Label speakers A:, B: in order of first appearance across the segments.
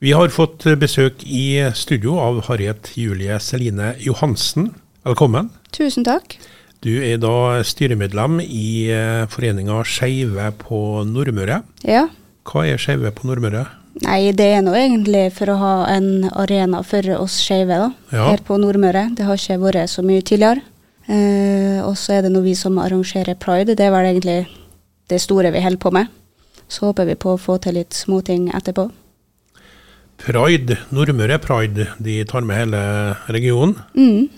A: Vi har fått besøk i studio av Harriet Julie Celine Johansen. Velkommen.
B: Tusen takk.
A: Du er da styremedlem i eh, foreninga Skeive på Nordmøre.
B: Ja.
A: Hva er Skeive på Nordmøre?
B: Nei, det er nå egentlig for å ha en arena for oss skeive da,
A: Ja.
B: her på Nordmøre. Det har ikke vært så mye tidligere. Eh, og så er det nå vi som arrangerer pride. Det er vel egentlig det store vi holder på med. Så håper vi på å få til litt småting etterpå.
A: Pride, Nordmøre Pride, de tar med hele regionen.
B: Mm.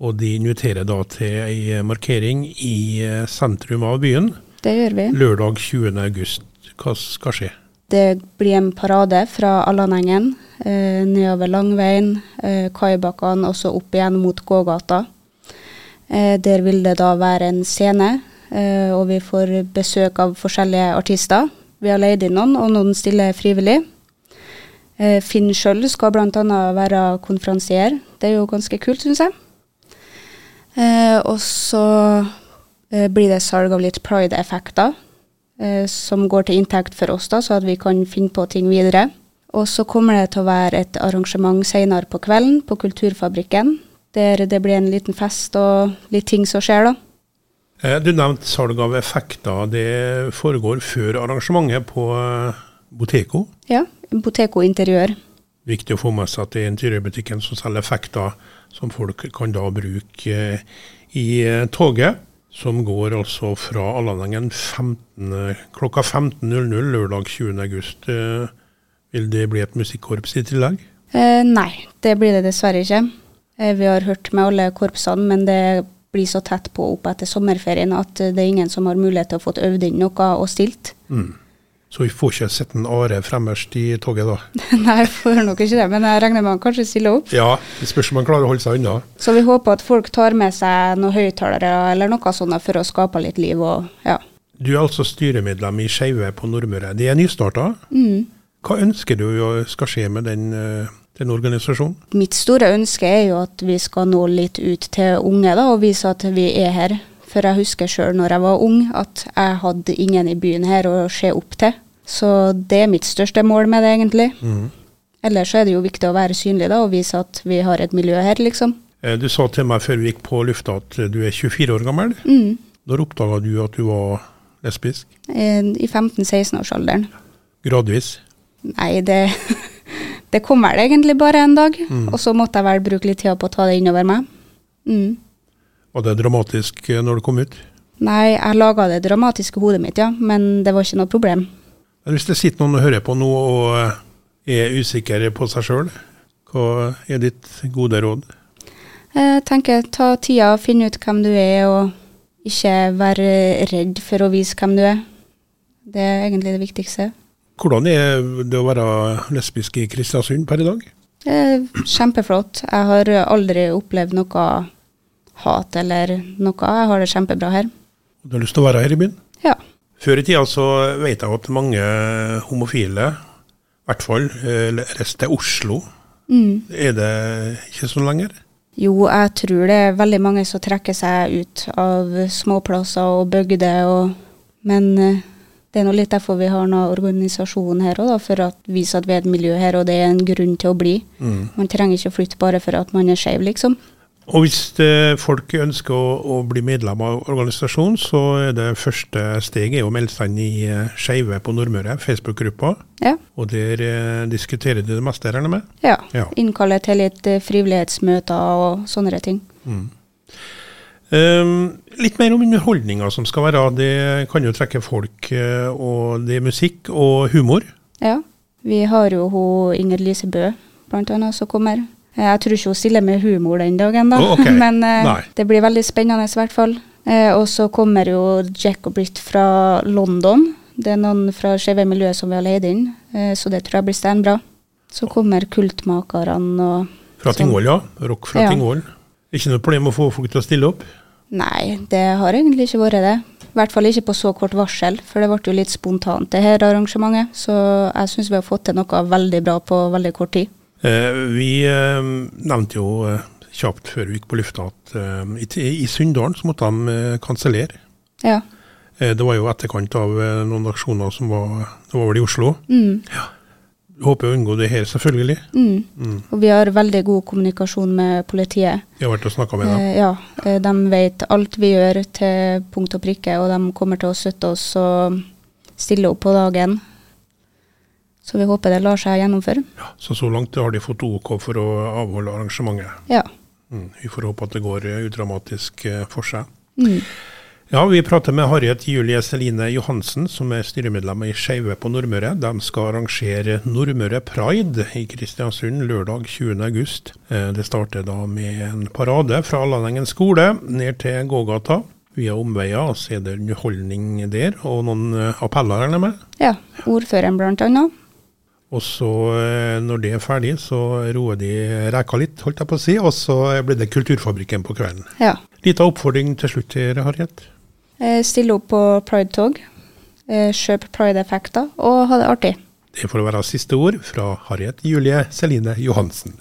A: Og de inviterer da til ei markering i eh, sentrum av byen
B: Det gjør vi.
A: lørdag 20. august. Hva skal skje?
B: Det blir en parade fra Allanengen eh, nedover Langveien, eh, Kaibakkene og så opp igjen mot gågata. Eh, der vil det da være en scene, eh, og vi får besøk av forskjellige artister. Vi har leid inn noen, og noen stiller frivillig. Eh, Finn sjøl skal bl.a. være konferansier. Det er jo ganske kult, syns jeg. Eh, og så eh, blir det salg av litt pride-effekter, eh, som går til inntekt for oss, da, så at vi kan finne på ting videre. Og så kommer det til å være et arrangement senere på kvelden på Kulturfabrikken, der det blir en liten fest og litt ting som skjer, da.
A: Eh, Du nevnte salg av effekter. Det foregår før arrangementet på eh, Boteco.
B: Ja. Boteco Interiør.
A: Viktig å få med seg at det er interiørbutikken som selger effekter som folk kan da bruke eh, i eh, toget. Som går altså fra Allanengen 15, klokka 15.00 lørdag 20. august. Eh, Vil det bli et musikkorps i tillegg?
B: Eh, nei, det blir det dessverre ikke. Eh, vi har hørt med alle korpsene, men det blir så tett på opp etter sommerferien at eh, det er ingen som har mulighet til å få øvd inn noe og stilt.
A: Mm. Så vi får ikke sett en are fremmerst i toget da?
B: nei, jeg får nok ikke det, men jeg regner med han kanskje stiller opp.
A: Ja, det spørs om man klarer å holde seg unna.
B: Så vi håper at folk tar med seg noen høyttalere eller noe sånt for å skape litt liv og ja.
A: Du er altså styremedlem i Skeive på Nordmøre. De er nystarta.
B: Mm.
A: Hva ønsker du å- skal skje med den, eh, den organisasjonen?
B: Mitt store ønske er jo at vi skal nå litt ut til unge da, og vise at vi er her. For jeg husker sjøl når jeg var ung at jeg hadde ingen i byen her å se opp til. Så det er mitt største mål med det, egentlig. Ellers så er det jo viktig å være synlig da, og vise at vi har et miljø her, liksom.
A: Eh, Du sa til meg før vi gikk på lufta at eh, du er 24 år gammel.
B: Mm.
A: Når oppdaga du at du var lesbisk?
B: Eh, I 15-16-årsalderen.
A: Gradvis.
B: Nei, det, det kom vel egentlig bare en dag. Og så måtte jeg vel bruke litt tid på å ta det innover meg. Mm.
A: Var det dramatisk eh, når det kom ut?
B: Nei, jeg laga det dramatiske hodet mitt, ja, men det var ikke noe problem.
A: Men Hvis det sitter noen og hører på nå og eh, er usikre på seg sjøl, hva er ditt gode råd?
B: Jeg tenker ta tida og finne ut hvem du er, og ikke være redd for å vise hvem du er. Det er egentlig det viktigste.
A: Hvordan er det å være lesbisk i Kristiansund per i dag?
B: Det er kjempeflott. Jeg har aldri opplevd noe hat eller noe. Jeg har det kjempebra her.
A: Du har lyst til å være her i byen?
B: Ja.
A: Før i tida så vet jeg at mange homofile, i hvert fall, eh, reiste til Oslo.
B: Mm.
A: Er det ikke sånn lenger?
B: Jo, jeg tror det er veldig mange som trekker seg ut av småplasser og bygder. Og, men eh, det er nå litt derfor vi har noen organisasjon her òg, for å vise at vi er et miljø her, og det er en grunn til å bli.
A: Mm.
B: Man trenger ikke å flytte bare for at man er skeiv, liksom.
A: Og hvis eh, folk ønsker å, å bli medlem av organisasjonen, så er det første steget er å melde seg inn i eh, Skeive på Nordmøre, Facebook-gruppa.
B: Ja.
A: Og der eh, diskuterer de det meste, regner jeg med.
B: ja.
A: Ja.
B: Innkalle til litt eh, frivillighetsmøter og sånne ting.
A: Mm. Ehm, litt mer om underholdninga som skal være. Det kan jo trekke folk, eh, og det er musikk og humor.
B: Ja. Vi har jo hun Inger Lise Bø, blant annet, som kommer. Eh, Jeg tror ikke hun stiller med humor den dagen, da.
A: Å, ok.
B: Men eh,
A: Nei.
B: det blir veldig spennende i hvert fall. Eh, og så kommer jo Jack og Britt fra London. Det er noen fra skeive miljøet som vi har leid inn, eh, så det tror jeg blir steinbra. Så kommer kultmakerne og
A: Fra
B: Sånn.
A: Tingvoll, ja. Rock fra
B: Ja.
A: Tingvoll. Ikke noe problem å få folk til å stille opp.
B: Nei, det har egentlig ikke vært det. I hvert fall ikke på så kort varsel, for det ble jo litt spontant det her arrangementet. Så jeg syns vi har fått til noe veldig bra på veldig kort tid.
A: Eh, vi eh, nevnte jo eh, kjapt før vi gikk på lufta at eh, i, t- i Sunndalen så måtte de eh, kansellere.
B: Ja.
A: Eh, det var jo etterkant av eh, noen aksjoner som var, det var vel i Oslo.
B: Mm.
A: håper å unngå det her, selvfølgelig.
B: Mm.
A: Mm.
B: Og vi har veldig god kommunikasjon med politiet.
A: Jeg har vært og snakka med dem.
B: Eh, ja, eh, de vet alt vi gjør til punkt og prikke, og de kommer til å støtte oss og stille opp på dagen. Så vi håper det lar seg gjennomføre.
A: Så så langt har de fått OK for å avholde arrangementet.
B: Ja.
A: Mm. Vi får håpe at det går eh, udramatisk eh, for seg.
B: Mm.
A: Ja, Vi prater med Harriet Julie Celine Johansen, som er styremedlem i Skeive på Nordmøre. De skal arrangere Nordmøre Pride i Kristiansund lørdag 20.8. Det starter da med en parade fra Allanengen skole ned til gågata. Via omveier og så er det underholdning der, og noen eh, appeller regner jeg med.
B: ja. Ordføreren, blant annet.
A: Og så eh, når det er ferdig, så roer de reka litt, holdt jeg på å si, og så eh, blir det Kulturfabrikken på kvelden.
B: Ja.
A: Lita oppfordring til slutt her, Harriet.
B: Eh, Stille opp på Pride-tog, eh, kjøp Pride-effekter og ha det artig.
A: Det får være siste ord fra Harriet Julie Celine Johansen.